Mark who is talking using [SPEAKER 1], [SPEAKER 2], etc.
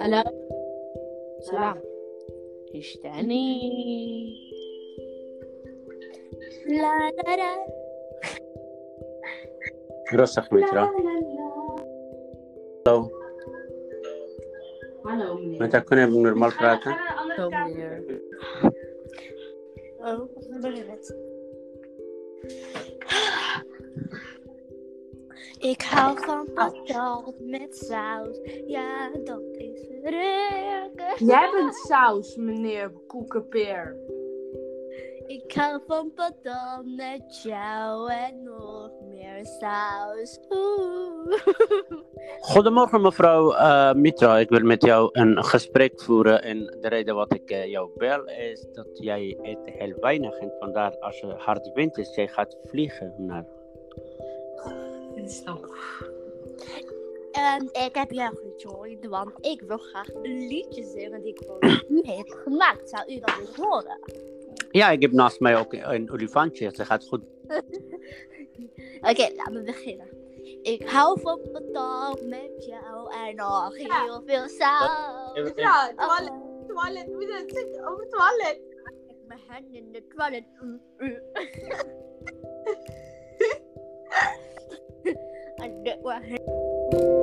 [SPEAKER 1] Halo. Selam. ايش تعني؟
[SPEAKER 2] La la la.
[SPEAKER 3] Grosach mytra. Hallo. Met haar kunnen we normaal praten.
[SPEAKER 1] Zo meneer.
[SPEAKER 2] Oh, begin het. Ik hou van patat met saus. Ja, dat is lekker.
[SPEAKER 4] Jij bent saus, meneer Koekenpeer.
[SPEAKER 2] Ik hou van patat met jou en nog meer saus. Oeh.
[SPEAKER 3] Goedemorgen mevrouw eh, Mitra. Ik wil met jou een gesprek voeren. En de reden wat ik eh, jou bel is dat jij eet heel weinig. En vandaar als er hard wind is, jij gaat vliegen naar...
[SPEAKER 2] En ik heb jou gejoind, want ik wil graag een liedje zingen die ik voor u heb gemaakt. Zou u dat willen horen?
[SPEAKER 3] Ja, ik heb naast mij ook een olifantje. Ze gaat goed.
[SPEAKER 2] Oké, laten we beginnen. Ik hou van patat met jou en nog heel veel saus.
[SPEAKER 4] Ja, toilet,
[SPEAKER 2] Oh,
[SPEAKER 4] toilet. We zijn zitten op het toilet.
[SPEAKER 2] met mijn hand in de toilet. Mm, mm. En dit was-